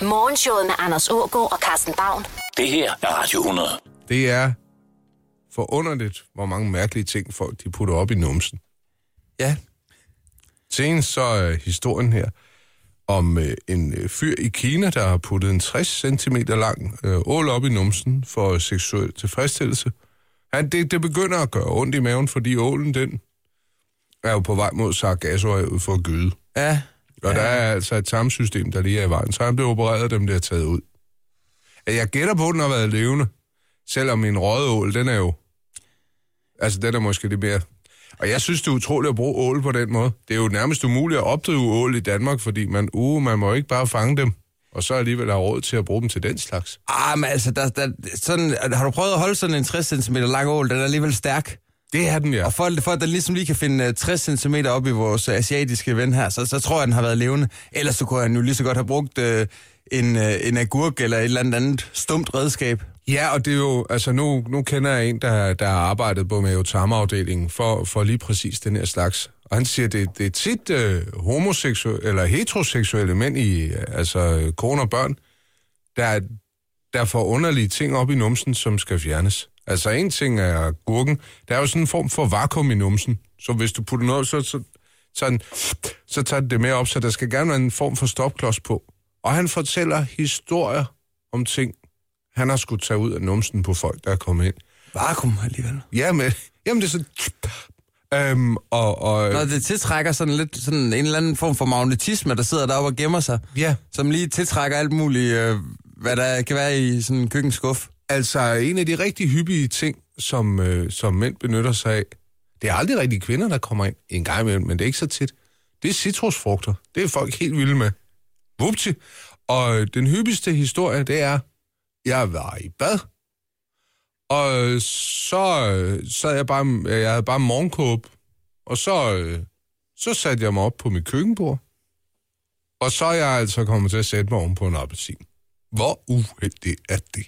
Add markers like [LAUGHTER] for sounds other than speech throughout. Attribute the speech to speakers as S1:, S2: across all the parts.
S1: Morgenshowet med Anders Ågaard og Carsten Baum.
S2: Det her er Radio 100.
S3: Det er forunderligt, hvor mange mærkelige ting folk de putter op i numsen.
S4: Ja.
S3: Senest så er historien her om øh, en øh, fyr i Kina, der har puttet en 60 cm lang øh, ål op i numsen for seksuel tilfredsstillelse. Han, det, det begynder at gøre ondt i maven, fordi ålen den er jo på vej mod sargassohavet for at gøde.
S4: Ja.
S3: Og ja. der er altså et tarmsystem, der lige er i vejen. Så han blev opereret, og dem bliver taget ud. Jeg gætter på, at den har været levende. Selvom en rødål, den er jo... Altså, den er måske lidt mere... Og jeg synes, det er utroligt at bruge ål på den måde. Det er jo nærmest umuligt at opdrive ål i Danmark, fordi man, uh, man må jo ikke bare fange dem, og så alligevel have råd til at bruge dem til den slags.
S4: Ah, men altså, der, der, sådan, har du prøvet at holde sådan en 60 cm lang ål? Den er alligevel stærk.
S3: Det er den, ja.
S4: Og for, at- for at den ligesom lige kan finde øh, 60 cm op i vores øh, asiatiske ven her, så, så tror jeg, den har været levende. Ellers så kunne han jo lige så godt have brugt øh, en, øh, en agurk eller et eller andet, andet stumt redskab.
S3: Ja, og det er jo, altså nu, nu kender jeg en, der, der har arbejdet på mavetarmafdelingen for, for lige præcis den her slags. Og han siger, det, det er tit øh, homoseksuelle, eller heteroseksuelle mænd i, øh, altså øh, kone og børn, der, der får underlige ting op i numsen, som skal fjernes. Altså en ting er gurken, der er jo sådan en form for vakuum i numsen, så hvis du putter noget, så, så, så, den, så tager den det med op, så der skal gerne være en form for stopklods på. Og han fortæller historier om ting, han har skulle tage ud af numsen på folk, der er kommet ind.
S4: Vakuum alligevel.
S3: Jamen, jamen det er sådan... Øhm, og, og,
S4: Når det tiltrækker sådan lidt sådan en eller anden form for magnetisme, der sidder deroppe og gemmer sig,
S3: ja,
S4: som lige tiltrækker alt muligt, øh, hvad der kan være i sådan en køkkenskuff.
S3: altså en af de rigtig hyppige ting, som, øh, som mænd benytter sig af, det er aldrig rigtig kvinder, der kommer ind en gang imellem, men det er ikke så tit. Det er citrusfrugter. Det er folk helt vilde med. Vupti. Og øh, den hyppigste historie, det er, jeg var i bad, og øh, så øh, sad jeg bare, øh, jeg havde bare morgenkåb, og så, øh, så satte jeg mig op på mit køkkenbord, og så er jeg altså kommet til at sætte mig oven på en appelsin. Hvor uheldigt er det?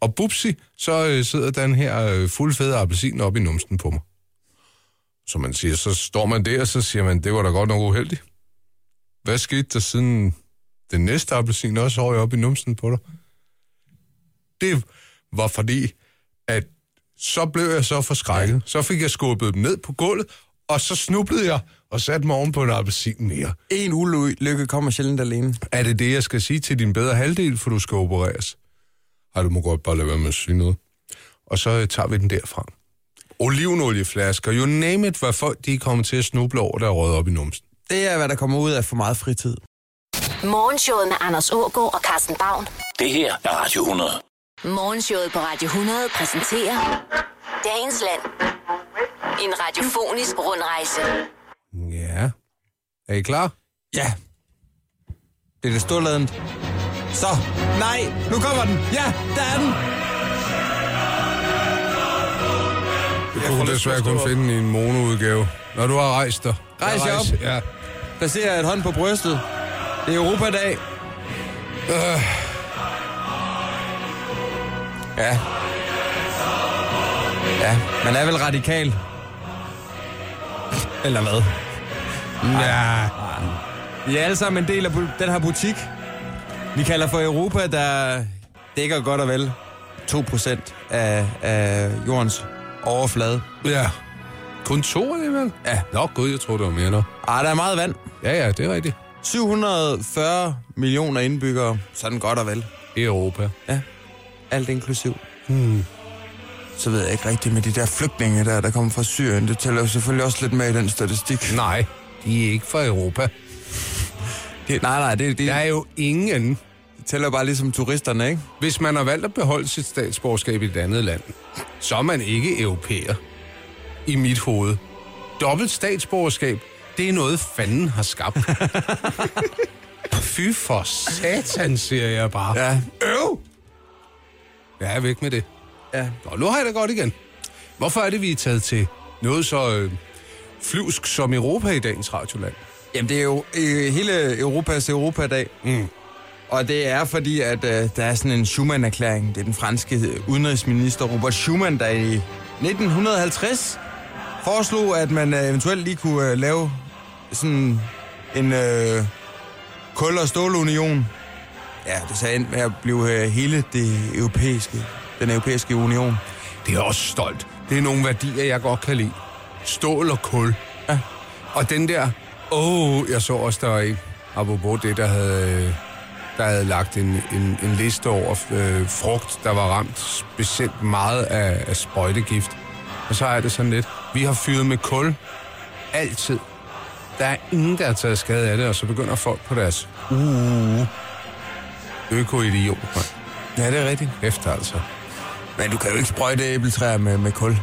S3: Og bupsi, så øh, sidder den her øh, fuldfede appelsin op i numsten på mig. Så man siger, så står man der, og så siger man, det var da godt nok uheldigt. Hvad skete der siden den næste appelsin også røg op i numsen på dig? Det var fordi, at så blev jeg så forskrækket. Så fik jeg skubbet dem ned på gulvet, og så snublede jeg og satte mig oven på en appelsin mere.
S4: En ulykke kommer sjældent alene.
S3: Er det det, jeg skal sige til din bedre halvdel, for du skal opereres? Ej, du må godt bare lade være med at sige noget. Og så øh, tager vi den derfra. Olivenolieflasker, you name it, hvad folk de kommer til at snuble over, der er røget op i numsen.
S4: Det er, hvad der kommer ud af for meget fritid.
S1: Morgenshowet med Anders Ågaard og Carsten Baum.
S2: Det her er Radio 100.
S1: Morgenshowet på Radio 100 præsenterer Dagens Land. En radiofonisk rundrejse.
S3: Ja. Er I klar?
S4: Ja. Det er det storladent. Så. Nej, nu kommer den. Ja, der er den.
S3: Jeg kunne desværre kun finde den i en monoudgave. Når du har rejst dig.
S4: Rejs jer op.
S3: Ja.
S4: Placerer et hånd på brystet. Det er Europadag. Øh. Ja. Ja, man er vel radikal. Eller hvad? Ja. Vi er alle sammen en del af bu- den her butik. Vi kalder for Europa, der dækker godt og vel 2% af, af jordens overflade.
S3: Ja. Kun to alligevel?
S4: Ja.
S3: Nå, gud, jeg tror det var mere nu.
S4: Ah, der er meget vand.
S3: Ja, ja, det er rigtigt.
S4: 740 millioner indbyggere. Sådan godt og vel.
S3: I Europa.
S4: alt inklusiv. Hmm. Så ved jeg ikke rigtigt med de der flygtninge der, der kommer fra Syrien. Det tæller jo selvfølgelig også lidt med i den statistik.
S3: Nej, de er ikke fra Europa.
S4: Det, nej, nej, det, det
S3: Der er jo ingen
S4: tæller bare ligesom turisterne, ikke?
S3: Hvis man har valgt at beholde sit statsborgerskab i et andet land, så er man ikke europæer. I mit hoved. Dobbelt statsborgerskab, det er noget, fanden har skabt. Fy for satan, siger jeg bare.
S4: Ja.
S3: Øv! Jeg er væk med det.
S4: Ja.
S3: Nå, nu har jeg det godt igen. Hvorfor er det, vi er taget til noget så øh, flyvsk som Europa i dagens radioland?
S4: Jamen, det er jo øh, hele Europas Europadag. Mm. Og det er fordi, at øh, der er sådan en Schumann-erklæring. Det er den franske øh, udenrigsminister Robert Schumann, der i 1950 foreslog, at man øh, eventuelt lige kunne øh, lave sådan en øh, kul- og stålunion Ja, det så endte med at blive øh, hele det europæiske, den europæiske union.
S3: Det er jeg også stolt. Det er nogle værdier, jeg godt kan lide. Stål og kul. Ja. Og den der... Åh, oh, jeg så også, der var en, apropos det, der havde, øh, der havde lagt en, en, en liste over øh, frugt, der var ramt specielt meget af, af sprøjtegift. Og så er det sådan lidt, vi har fyret med kul altid. Der er ingen, der har taget skade af det, og så begynder folk på deres uh, øko-idiot. mand.
S4: Ja, det er rigtigt.
S3: Efter altså.
S4: Men du kan jo ikke sprøjte æbletræer med, med kul.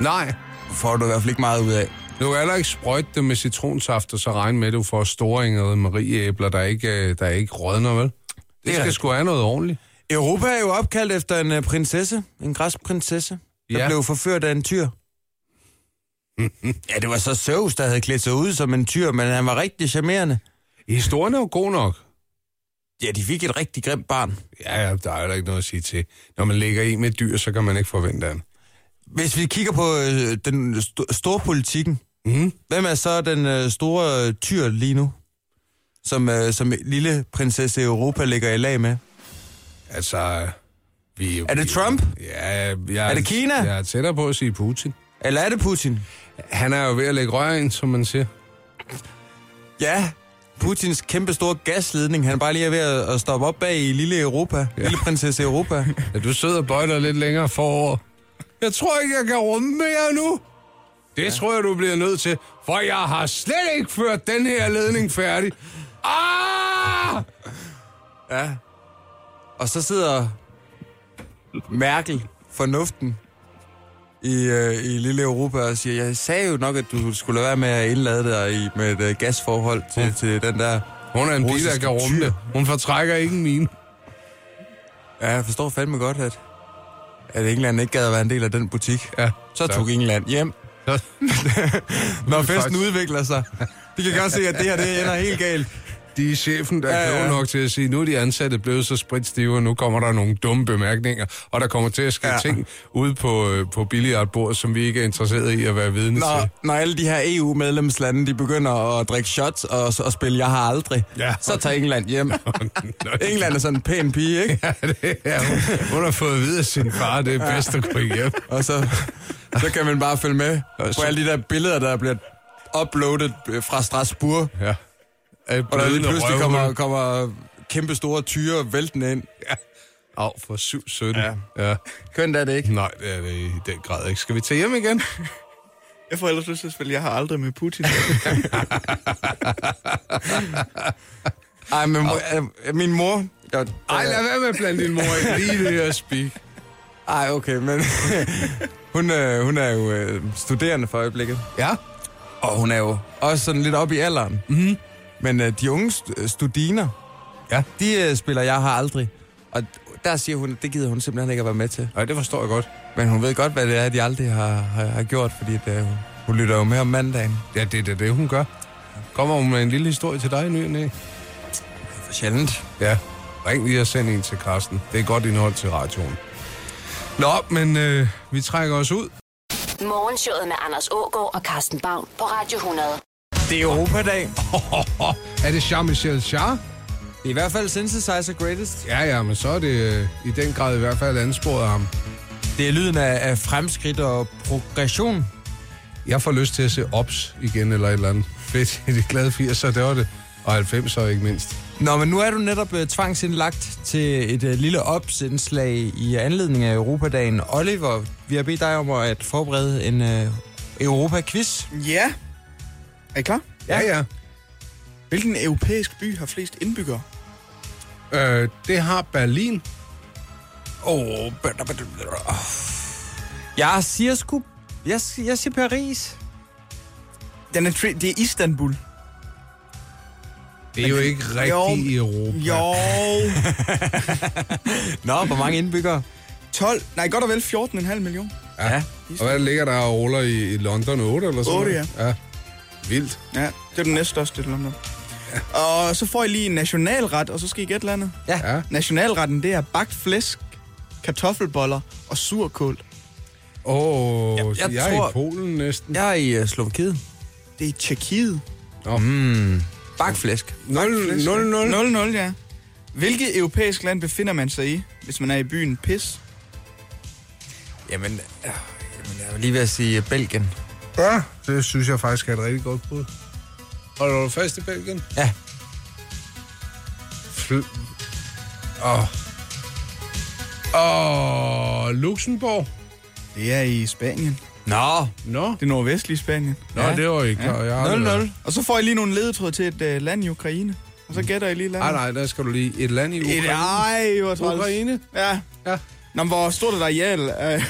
S3: Nej,
S4: Får du i hvert fald ikke meget ud af.
S3: Du kan heller ikke sprøjte det med citronsaft, og så regne med, at du får storingede marieæbler, der ikke, øh, der ikke rådner, vel? Det skal
S4: rigtigt.
S3: sgu have noget ordentligt.
S4: Europa er jo opkaldt efter en øh, prinsesse, en græsk prinsesse, der
S3: Ja.
S4: blev forført af en tyr. ja, det var så Zeus, der havde klædt sig ud som en tyr, men han var rigtig charmerende.
S3: Historien er jo god nok.
S4: Ja, de fik et rigtig grimt barn.
S3: Ja, ja, der er jo ikke noget at sige til. Når man ligger i med et dyr, så kan man ikke forvente andet.
S4: Hvis vi kigger på øh, den st- store politikken,
S3: Mm.
S4: hvem er så den øh, store øh, tyr lige nu, som, øh, som lille prinsesse Europa ligger i lag med?
S3: Altså, vi...
S4: Er det Trump?
S3: Ja, jeg,
S4: Er det Kina?
S3: Jeg er tættere på at sige Putin.
S4: Eller er det Putin?
S3: Han er jo ved at lægge rør ind, som man siger.
S4: Ja, Putins kæmpe store gasledning, han bare lige er ved at- at stoppe op bag i lille Europa, ja. lille prinsesse Europa.
S3: Er du sød og bøjter lidt længere forover? Jeg tror ikke, jeg kan rumme mere nu. Det ja. tror jeg, du bliver nødt til, for jeg har slet ikke ført den her ledning færdig. Ah!
S4: Ja. Og så sidder Merkel, fornuften, i, øh, i lille Europa og siger, jeg sagde jo nok, at du skulle lade være med at indlade dig i, med et øh, gasforhold til, ja. til den der...
S3: Hun er en bil,
S4: Russiske
S3: der kan rumme
S4: tyr.
S3: det. Hun fortrækker ikke min.
S4: Ja, jeg forstår fandme godt, at, at England ikke gad at være en del af den butik.
S3: Ja,
S4: Så tog England hjem.
S3: Så-
S4: Når festen
S3: faktisk-
S4: udvikler sig. De kan godt se, at det her det ender helt galt.
S3: De er chefen, der er
S4: Ja,
S3: ja,
S4: ja.
S3: ja. nok til at sige, nu er de ansatte blevet så spritstive, og nu kommer der nogle dumme bemærkninger, og der kommer til at ske
S4: Ja.
S3: ja. ting ude på, øh, på billiardbordet, som vi ikke er interesseret i at være vidne til.
S4: Når, når alle de her EU-medlemslande, de begynder at drikke shots og, og spille Jeg har aldrig,
S3: Ja.
S4: så tager England hjem. [LAUGHS] England er sådan en pæn pige, ikke?
S3: Ja, det er hun. Hun har fået at vide af sin far, det er bedst at gå hjem.
S4: Og så, så kan man bare følge med på alle de der billeder, der bliver uploadet øh, fra Strasbourg.
S3: Ja.
S4: Og der lige pludselig kommer, kommer kæmpe store tyre væltende ind.
S3: Af for 717.
S4: Ja.
S3: Ja. ja.
S4: Kønt er det ikke.
S3: Nej, det er det i den grad ikke. Skal vi tage hjem igen?
S5: Jeg får ellers lyst til at spille, jeg har aldrig med Putin.
S4: Ej, men må, øh, min mor... Jeg,
S3: Ej, lad være med at blande din mor ind [LAUGHS] lige i det her speak.
S4: Ej, okay, men [LAUGHS] hun, øh, hun er jo øh, studerende for øjeblikket.
S3: Ja.
S4: Og hun er jo også sådan lidt op i alderen. Mm-hmm. Men øh, de unge st- øh, studiner,
S3: Mhm. Ja.
S4: de øh, spiller Jeg har aldrig. Og der siger hun, at det gider hun simpelthen ikke at være med til.
S3: Nej, det forstår jeg godt.
S4: Men hun ved godt, hvad det er, de aldrig har, har, har gjort, fordi at, øh, hun lytter jo med om mandagen.
S3: Ja, det er da det, hun gør. Kommer hun med en lille historie til dig i ny og næ?
S4: For sjældent.
S3: Ja. Ring lige og send en til Karsten. Det er godt indhold til radioen. Nå, men øh, vi trækker os ud. [LAUGHS]
S1: Morgenshowet med Anders Ågaard og Carsten Baum på Radio 100.
S4: Det er Europadag.
S3: Er det Jean-Michel Jarre?
S4: Det er i hvert fald Synthesizer Greatest.
S3: Ja, ja, men så er det øh, i den grad i hvert fald ansporet af ham.
S4: Det er lyden af, af fremskridt og progression.
S3: Jeg får lyst til at se Ops igen eller et eller andet. Fedt. [LAUGHS] I de glade 80'er, det var det. Og 90'er ikke mindst.
S4: Nå, men nu er du netop øh, tvangsindlagt til et øh, lille opsindslag i anledning af Europadagen. Oliver, vi har bedt dig om at forberede en øh, Europa-quiz.
S5: ja. Er I klar?
S3: Ja, ja.
S5: Hvilken europæisk by har flest indbyggere?
S3: Øh, det har Berlin.
S4: Oh, jeg siger sgu... Jeg, si- jeg siger Paris.
S5: Den er tri- det er Istanbul.
S3: Det er jo ikke rigtigt i Europa.
S5: Jo,
S4: Nå, hvor mange indbyggere?
S5: 12, nej godt og vel 14,5 millioner.
S3: Ja. Og hvad ligger der og ruller i, i London 8 eller sådan
S5: Otte,
S3: noget? ja. Vildt.
S5: Ja, det er den næststørste i London. Og så får I lige en nationalret, og så skal I gætte landet.
S3: Ja.
S5: Nationalretten, det er bagt flæsk, kartoffelboller og surkål.
S3: Åh,
S4: Jeg-
S3: jeg,
S4: jeg
S3: jeg, jeg
S4: tror-
S3: er i Polen næsten.
S4: Jeg er i øh, Slovakiet.
S5: Det er i Tjekkiet.
S4: Bakflæsk.
S3: 0-0.
S5: 0-0, ja. Hvilket europæisk land befinder man sig i, hvis man er i byen Pis?
S4: Jamen, øh, jamen jeg var lige ved at sige Belgien.
S3: Ja, det synes jeg faktisk er et rigtig godt bud. Holder du fast i Belgien?
S4: Ja.
S3: Fl- Åh. Åh, Luxembourg.
S5: Det er i Spanien.
S4: Nå,
S3: Nå,
S5: Det nordvestlige Spanien.
S3: Nå ja. det var ikke klar. Jeg har aldrig
S4: 0-0.
S3: været- Mm.
S5: Og så får I lige nogle ledetråd til et øh, land i Ukraine. Og så gætter I lige landet.
S3: Nej, nej, der skal du lige et land i
S5: Et,
S3: Ukraine.
S5: ej, hvor træls.
S3: Ukraine?
S5: Ja.
S3: Ja.
S5: Nå, men hvor stort et areal
S3: [LAUGHS]
S5: er... Øh.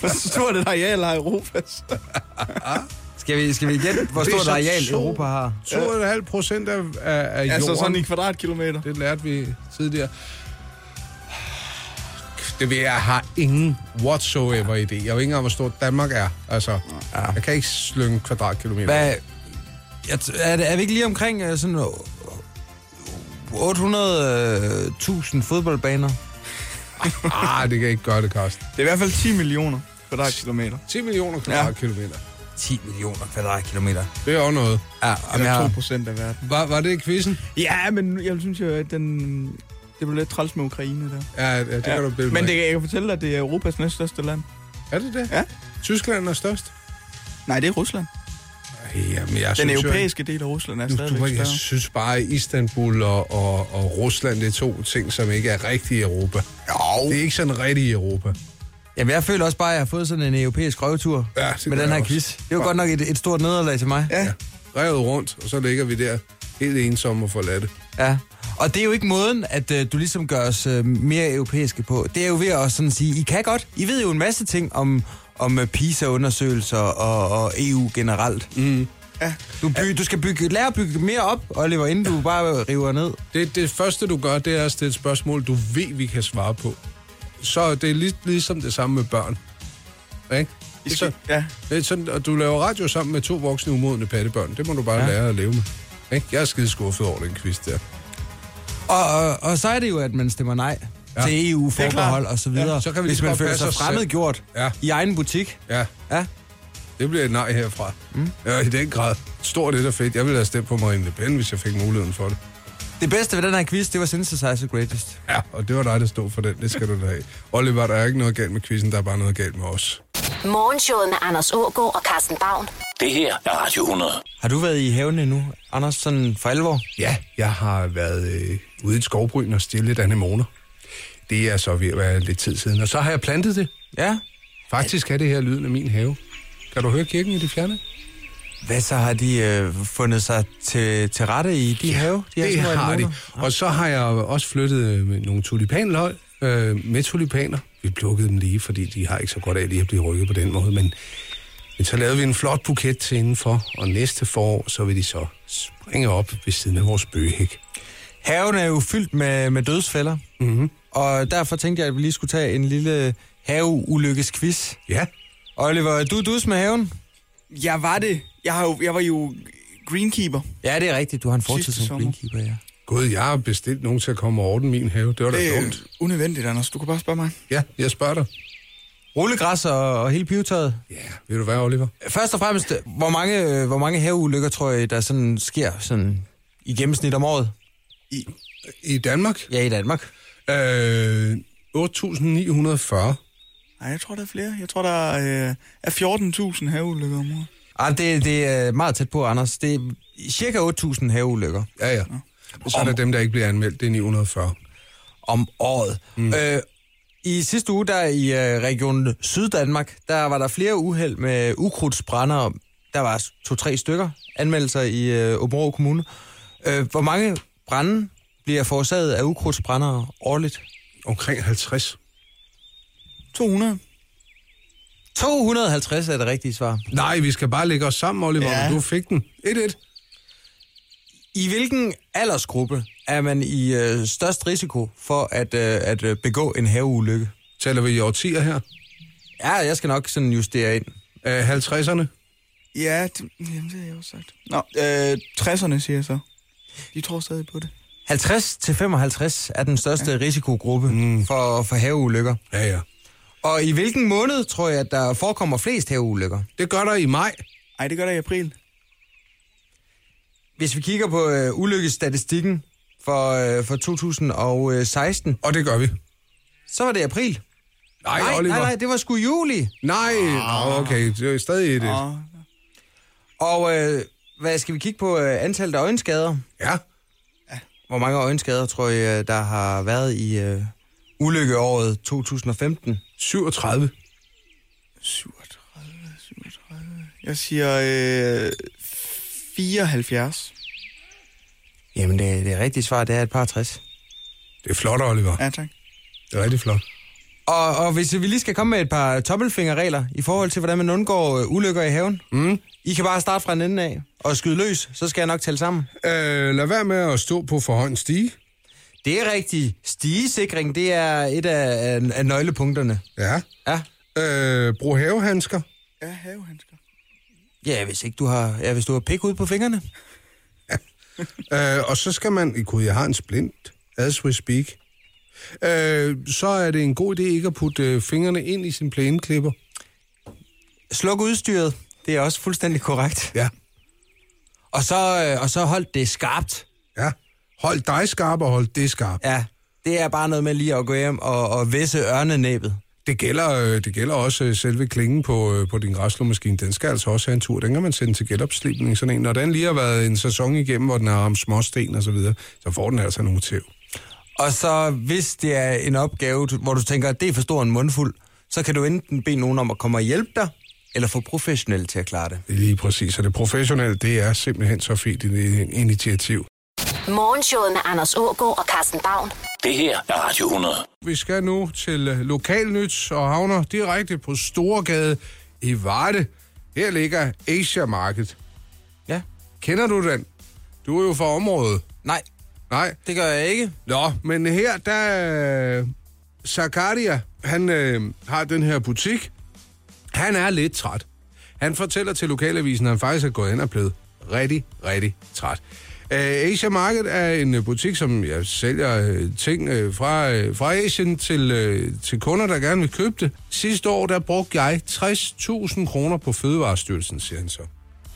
S5: hvor stort et areal har Europa? så?
S4: Skal vi, skal vi gætte, hvor
S3: Det er
S4: stort
S3: så
S4: areal
S3: to-
S4: Europa har?
S3: 2,5 procent af, af, af
S5: Altså
S3: jorden.
S5: sådan i kvadratkilometer.
S3: Det lærte vi tidligere. Det vil jeg har ingen whatsoever idé. Jeg ved ikke engang, hvor stort Danmark er. Altså, ja. jeg kan ikke slynge kvadratkilometer.
S4: Hvad, jeg, t- er, det, er vi ikke lige omkring øh, sådan øh, 800.000 øh, fodboldbaner?
S3: Ah, det kan ikke gøre det, Karsten.
S5: Det er i hvert fald 10 millioner kvadratkilometer.
S3: 10 millioner kvadratkilometer.
S4: 10 millioner kvadratkilometer.
S3: Det er også noget.
S4: Ja, om
S5: Eller
S4: jeg,
S5: 2 procent af verden.
S3: Var, var det quizzen?
S5: Ja, men jeg synes jo, at den... Det blev lidt træls med Ukraine der.
S3: Ja, ja det ja. kan du bilde mig
S5: Men det,
S3: ind.
S5: jeg kan fortælle dig, at det er Europas næststørste land.
S3: Er det det?
S5: Ja.
S3: Tyskland er størst?
S5: Nej, det er Rusland.
S3: Ej, Jamen, jeg
S5: Den
S3: synes jo-
S5: europæiske del af Rusland er
S3: Nu, du,
S5: stadigvæk
S3: jeg
S5: større.
S3: synes bare, at Istanbul og, og, og Rusland, det er to ting, som ikke er rigtige i Europa. Jo. Det er ikke sådan rigtigt i Europa.
S4: jamen, jeg føler også bare, at jeg har fået sådan en europæisk røvetur
S3: Ja, det
S4: med
S3: gør jeg
S4: den her
S3: også.
S4: quiz. Det var godt nok et, et stort nederlag til mig.
S5: Ja.
S3: Revet rundt, og så ligger vi der helt ensomme og forladte.
S4: Ja. Og det er jo ikke måden, at øh, du ligesom gør os øh, mere europæiske på. Det er jo ved at sådan sige, I kan godt. I ved jo en masse ting om, om øh, PISA-undersøgelser og, og EU generelt. Mm.
S5: Ja.
S4: Du, by, du skal bygge, lære at bygge mere op, Oliver, inden du bare river ned.
S3: Det, det første, du gør, det er at stille et spørgsmål, du ved, vi kan svare på. Så det er lig, ligesom det samme med børn. Ikke?
S5: I
S3: Det er
S5: skal,
S3: så-
S5: ja.
S3: det er sådan, og du laver radio sammen med to voksne umodne pattebørn. Det må du bare ja. lære at leve med. Ikke? Jeg er skide skuffet over den quiz der.
S4: Og, og, og så er det jo, at man stemmer nej ja.
S3: Ja.
S4: til EU-forbehold
S5: klart.
S4: og så videre, ja,
S3: så kan vi lige
S4: hvis
S3: så
S4: man
S3: godt
S4: føler
S3: passe
S4: sig
S3: os selv.
S4: fremmedgjort
S3: Ja.
S4: ja. i egen butik.
S3: Ja,
S4: Ja.
S3: det bliver et nej herfra. Mm. Ja, i den grad. Stort et og fedt. Jeg ville have stemt på Marine Le Pen, hvis jeg fik muligheden for det.
S4: Det bedste ved den her quiz, det var Synthesizer Greatest.
S3: Ja, og det var dig, der stod for den. Det skal du da have. Oliver, der er ikke noget galt med quizzen, der er bare noget galt med os.
S1: Morgenshowet med Anders Ågaard og Carsten Baum.
S2: Det her er Radio 100.
S4: Har du været i haven endnu, Anders, sådan for alvor?
S3: Ja, jeg har været øh, ude i et skovbryn og stille lidt anemoner. Det er så ved at være lidt tid siden. Og så har jeg plantet det.
S4: Ja.
S3: Faktisk er det her lyden af min have. Kan du høre kirken i det fjerne?
S4: Hvad så har de øh, fundet sig til, til rette i de ja, have? De her
S3: det
S4: små
S3: har de.
S4: anemoner?
S3: Og så har jeg også flyttet øh, med nogle tulipanløg øh, med tulipaner. Vi plukkede dem lige, fordi de har ikke så godt af lige at blive rykket på den måde. Men, men så lavede vi en flot buket til indenfor, og næste forår, så vil de så springe op ved siden af vores bøgehæk.
S4: Haven er jo fyldt med, med dødsfælder,
S3: Mm-hmm.
S4: og derfor tænkte jeg, at vi lige skulle tage en lille haveulykkes-quiz.
S3: Ja,
S4: Oliver, du er dus med haven?
S5: Jeg var det. Jeg, har jo, jeg var jo greenkeeper.
S4: Ja, det er rigtigt. Du har en fortid
S5: Sidste
S4: som
S5: sommer.
S4: greenkeeper, ja.
S3: gud, jeg har bestilt nogen til at komme og ordne min have. Det var da
S5: Det er
S3: dumt.
S5: unødvendigt, Anders. Du kan bare spørge mig.
S3: Ja, jeg spørger dig.
S4: Rullegræs og, og hele pivetøjet.
S3: Ja, ved du hvad, Oliver?
S4: Først og fremmest, hvor mange, øh, hvor mange haveulykker, tror jeg, der sådan sker sådan i gennemsnit om året?
S3: I, i Danmark?
S4: Ja, i Danmark.
S3: Øh, 8.940.
S5: Nej, jeg tror, der er flere. Jeg tror, der er, øh, er 14.000 haveulykker om året.
S4: Ah, det, det er meget tæt på, Anders. Det er cirka 8.000 haveulykker.
S3: Ja, ja. Og så er der dem, der ikke bliver anmeldt. Det er 940.
S4: om året. Mm. Øh, I sidste uge, der i øh, Region Syddanmark, der var der flere uheld med ukrudtsbrændere. Der var s- to-tre stykker anmeldelser i øh, Åbenrå Kommune. Øh, hvor mange brænde bliver forårsaget af ukrudtsbrændere årligt?
S3: Omkring 50.
S5: 200.
S4: 250 er det rigtige svar.
S3: Nej, vi skal bare lægge os sammen, Oliver.
S5: Ja.
S3: Ja. Du fik den. 1-1.
S4: I hvilken aldersgruppe er man i øh, størst risiko for at, øh, at øh, begå en haveulykke?
S3: Taler vi i årtier her?
S4: Ja, jeg skal nok sådan justere ind.
S3: Øh, 50'erne?
S5: Ja, det, jamen, det har jeg også sagt. Nå, øh, 60'erne, siger jeg så. De tror stadig på det.
S4: 50-55 er den største ja. risikogruppe mm. for, for haveulykker.
S3: Ja, ja.
S4: Og i hvilken måned tror jeg, at der forekommer flest haveulykker?
S3: Det gør der i maj.
S5: Ej, det gør der i april.
S4: Hvis vi kigger på øh, ulykkesstatistikken for, øh, for 2016.
S3: Og det gør vi.
S4: Så var det april.
S3: Nej,
S4: Nej,
S3: Oliver.
S4: nej, nej, det var sgu juli.
S3: Nej, Nå, okay, det er stadig det.
S5: Åh,
S4: Og øh, hvad skal vi kigge på? Øh, antallet af øjenskader.
S3: Ja,
S4: Hvor mange øjenskader tror I, øh, der har været i øh, ulykkeåret 2015?
S3: 37.
S5: 37, 37. Jeg siger øh, 74.
S4: Jamen, det, det rigtige svar, det er et par 60.
S3: Det er flot, Oliver.
S5: Ja, tak.
S3: Det er rigtig flot.
S4: Og, og hvis vi lige skal komme med et par tommelfingerregler i forhold til, hvordan man undgår øh, ulykker i haven. Mm. I kan bare starte fra en ende af og skyde løs, så skal jeg nok tælle sammen.
S3: Øh, lad være med at stå på for høj en stige.
S4: Det er rigtigt. Stigesikring, det er et af, af, af nøglepunkterne.
S3: Ja.
S4: Ja.
S3: Øh, brug havehandsker.
S5: Ja, havehandsker.
S4: Ja, hvis ikke du har, ja, hvis du har pik ud på fingrene.
S3: Øh, og så skal man... Gud, jeg har en splint, as we speak. Øh, så er det en god idé ikke at putte øh, fingrene ind i sin plæneklipper.
S4: Sluk udstyret. Det er også fuldstændig korrekt.
S3: Ja.
S4: Og så, øh, og så hold det skarpt.
S3: Ja. Hold dig skarp og hold det skarpt. Ja.
S4: Ja, det er bare noget med lige at gå hjem og, og væsse ørnenæbet.
S3: Det, gælder, øh, det gælder også øh, selve klingen på, øh, på din græslåmaskine. Den skal altså også have en tur. Den kan man sende til genopslipning. Sådan en. Når den lige har været en sæson igennem, hvor den har ramt småsten og så videre, så får den altså nogle tæv.
S4: Og så, hvis det er en opgave, du- hvor du tænker, at det er for stor en mundfuld, så kan du enten bede nogen om at komme og hjælpe dig, eller få professionelle til at klare det.
S3: Lige præcis. Og det professionelle, det er simpelthen så fedt et initiativ.
S1: Morgenshowet med Anders Ågaard og Carsten Baum.
S2: Det her er Radio 100.
S3: Vi skal nu til øh, lokalnyt og havner direkte på Storgade i Varde. Her ligger Asia Market.
S4: Ja?
S3: Kender du den? Du er jo fra området.
S4: Nej,
S3: Nej.
S4: det gør jeg ikke.
S3: Nå, men her der... øh, Zakaria, han øh, har den her butik. Han er lidt træt. Han fortæller til lokalavisen, at han faktisk er gået hen og blevet rigtig, rigtig træt. Uh, Asia Market er en øh, butik, som jeg sælger øh, ting øh, fra, øh, fra Asien til, øh, til kunder, der gerne vil købe det. Sidste år, der brugte jeg 60.000 kroner på Fødevarestyrelsen, siger han så.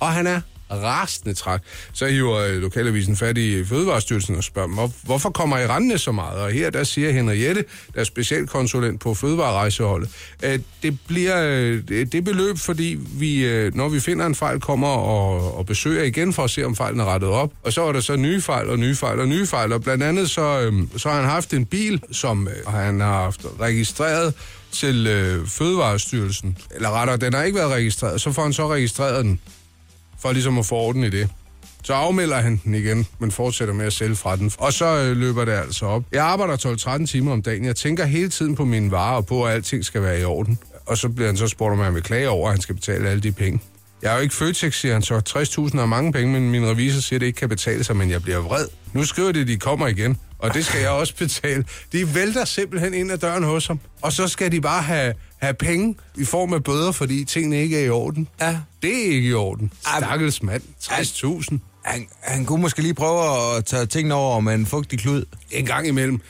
S3: Og han er rasende træt. Så hiver øh, lokalavisen fat i Fødevarestyrelsen og spørger dem, "Hvor- hvorfor kommer I rendende så meget? Og her der siger Henriette, der er specialkonsulent på Fødevarerejseholdet, at det bliver øh, det det beløb, fordi vi, øh, når vi finder en fejl, kommer og, og besøger igen for at se, om fejlen er rettet op. Og så er der så nye fejl og nye fejl og nye fejl. Og blandt andet så, øh, så har han haft en bil, som øh, han har haft registreret til øh, Fødevarestyrelsen. Eller rettere, den har ikke været registreret. Så får han så registreret den, for ligesom at få orden i det. Så afmelder han den igen, men fortsætter med at sælge fra den. Og så øh, løber det altså op. Jeg arbejder 12-13 timer om dagen. Jeg tænker hele tiden på mine varer og på, at alting skal være i orden. Og så bliver han så spurgt, om han vil klage over, at han skal betale alle de penge. Jeg er jo ikke Føtex, siger han så. 60.000 er mange penge, men min revisor siger, at det ikke kan betale sig, men jeg bliver vred. Nu skriver de, at de kommer igen, og det skal jeg også [LAUGHS] betale. De vælter simpelthen ind ad døren hos ham, og så skal de bare have, have penge i form af bøder, fordi tingene ikke er i orden.
S4: Ja.
S3: Det er ikke i orden.
S4: Ej,
S3: Stakkels mand. 60.000.
S4: Han, han kunne måske lige prøve at tage tingene over med en fugtig klud.
S3: En gang imellem.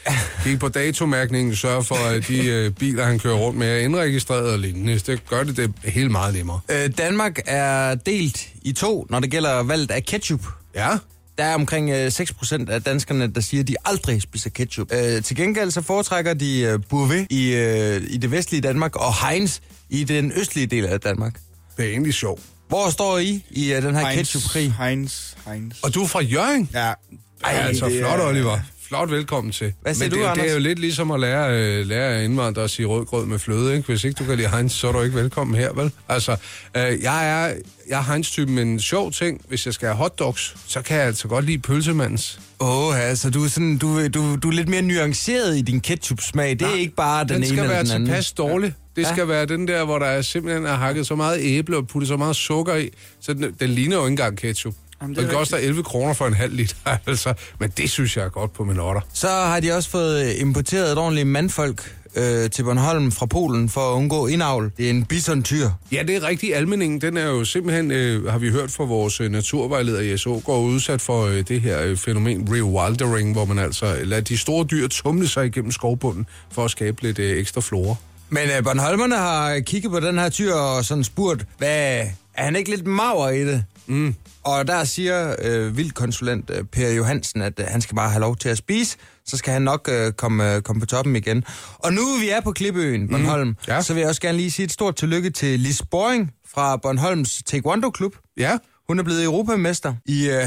S3: Gik på datomærkningen, sørge for, at
S4: [LAUGHS]
S3: de øh, biler, han kører rundt med, er indregistreret og lignende. Det gør det, det helt meget nemmere.
S4: Øh, Danmark er delt i to, når det gælder valget af ketchup.
S3: Ja,
S4: Der er omkring øh, 6% af danskerne, der siger, at de aldrig spiser ketchup. Øh, til gengæld så foretrækker de øh, Bourvet i, øh, i det vestlige Danmark og Heinz i den østlige del af Danmark.
S3: det er egentlig sjovt.
S4: Hvor står I i øh, den her
S5: Heinz,
S4: ketchupkrig?
S5: Heinz, Heinz.
S3: Og du er fra Jørgen?
S5: Ja.
S3: Ej, altså
S5: det er-
S3: flot, Oliver. Flot velkommen til.
S4: Hvad siger
S3: Men
S4: du,
S3: det, er jo- det er
S4: Anders?
S3: jo lidt ligesom at lære, øh, lære indvandrere at sige rødgrød med fløde, ikke? Hvis ikke du kan lide Heinz, så er du ikke velkommen her, vel? Altså, øh, jeg er, jeg er Heinz-typen, men en sjov ting, hvis jeg skal have hotdogs, så kan jeg altså godt lide pølsemandens.
S4: Åh, oh, altså du er, sådan, du, du, du er lidt mere nuanceret i din ketchup-smag. Det er ikke bare den,
S3: den
S4: ene
S3: skal
S4: eller
S3: være
S4: den anden.
S3: tilpas dårlig. Det skal være den der, hvor der er simpelthen er hakket så meget æble og puttet så meget sukker i, så den, den ligner jo ikke engang ketchup.
S5: Jamen,
S3: Jamen,
S5: det
S3: den
S5: er
S3: koster 11 kroner for en halv liter, [LAUGHS] altså. Men det synes jeg er godt på min otter.
S4: Så har de også fået øh, importeret et ordentligt mandfolk øh, til Bornholm fra Polen for at undgå indavl. Det er en bisontyr.
S3: Ja, det er rigtigt. Almeningen, den er jo simpelthen, øh, har vi hørt fra vores øh, naturvejleder i SO, går udsat for øh, det her øh, fænomen rewildering, hvor man altså lader de store dyr tumle sig igennem skovbunden for at skabe lidt øh, ekstra flora.
S4: Men øh, Bornholmerne har kigget på den her tyr og sådan spurgt, hvad, er han ikke lidt maver i det? Mm. Og der siger øh, vildkonsulent øh, Per Johansen, at øh, han skal bare have lov til at spise, så skal han nok øh, komme, øh, komme på toppen igen. Og nu vi er på Klippeøen, Bornholm, mm.
S3: Ja.
S4: ja. så vil jeg også gerne lige sige et stort tillykke til Lis Boring fra Bornholms Taekwondo Klub.
S3: Ja,
S4: Hun er blevet europamester i øh,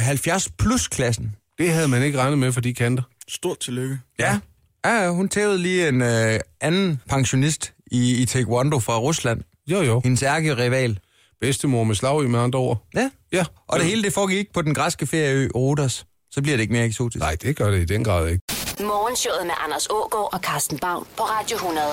S4: 70-plus-klassen.
S3: det havde man ikke regnet med for de kanter.
S5: Stort tillykke.
S4: Ja. Ja, hun tævede lige en øh, anden pensionist i, i Taekwondo fra Rusland.
S3: Jo, jo.
S4: Hendes ærkerival.
S3: Bedstemor med slag i med andre ord.
S4: Ja.
S3: Ja.
S4: Og det hele det foregik på den græske ferieø Rodos. Så bliver det ikke mere eksotisk.
S3: Nej, det gør det i den grad ikke.
S1: Morgenshowet med Anders Ågaard og Carsten Baum på Radio 100.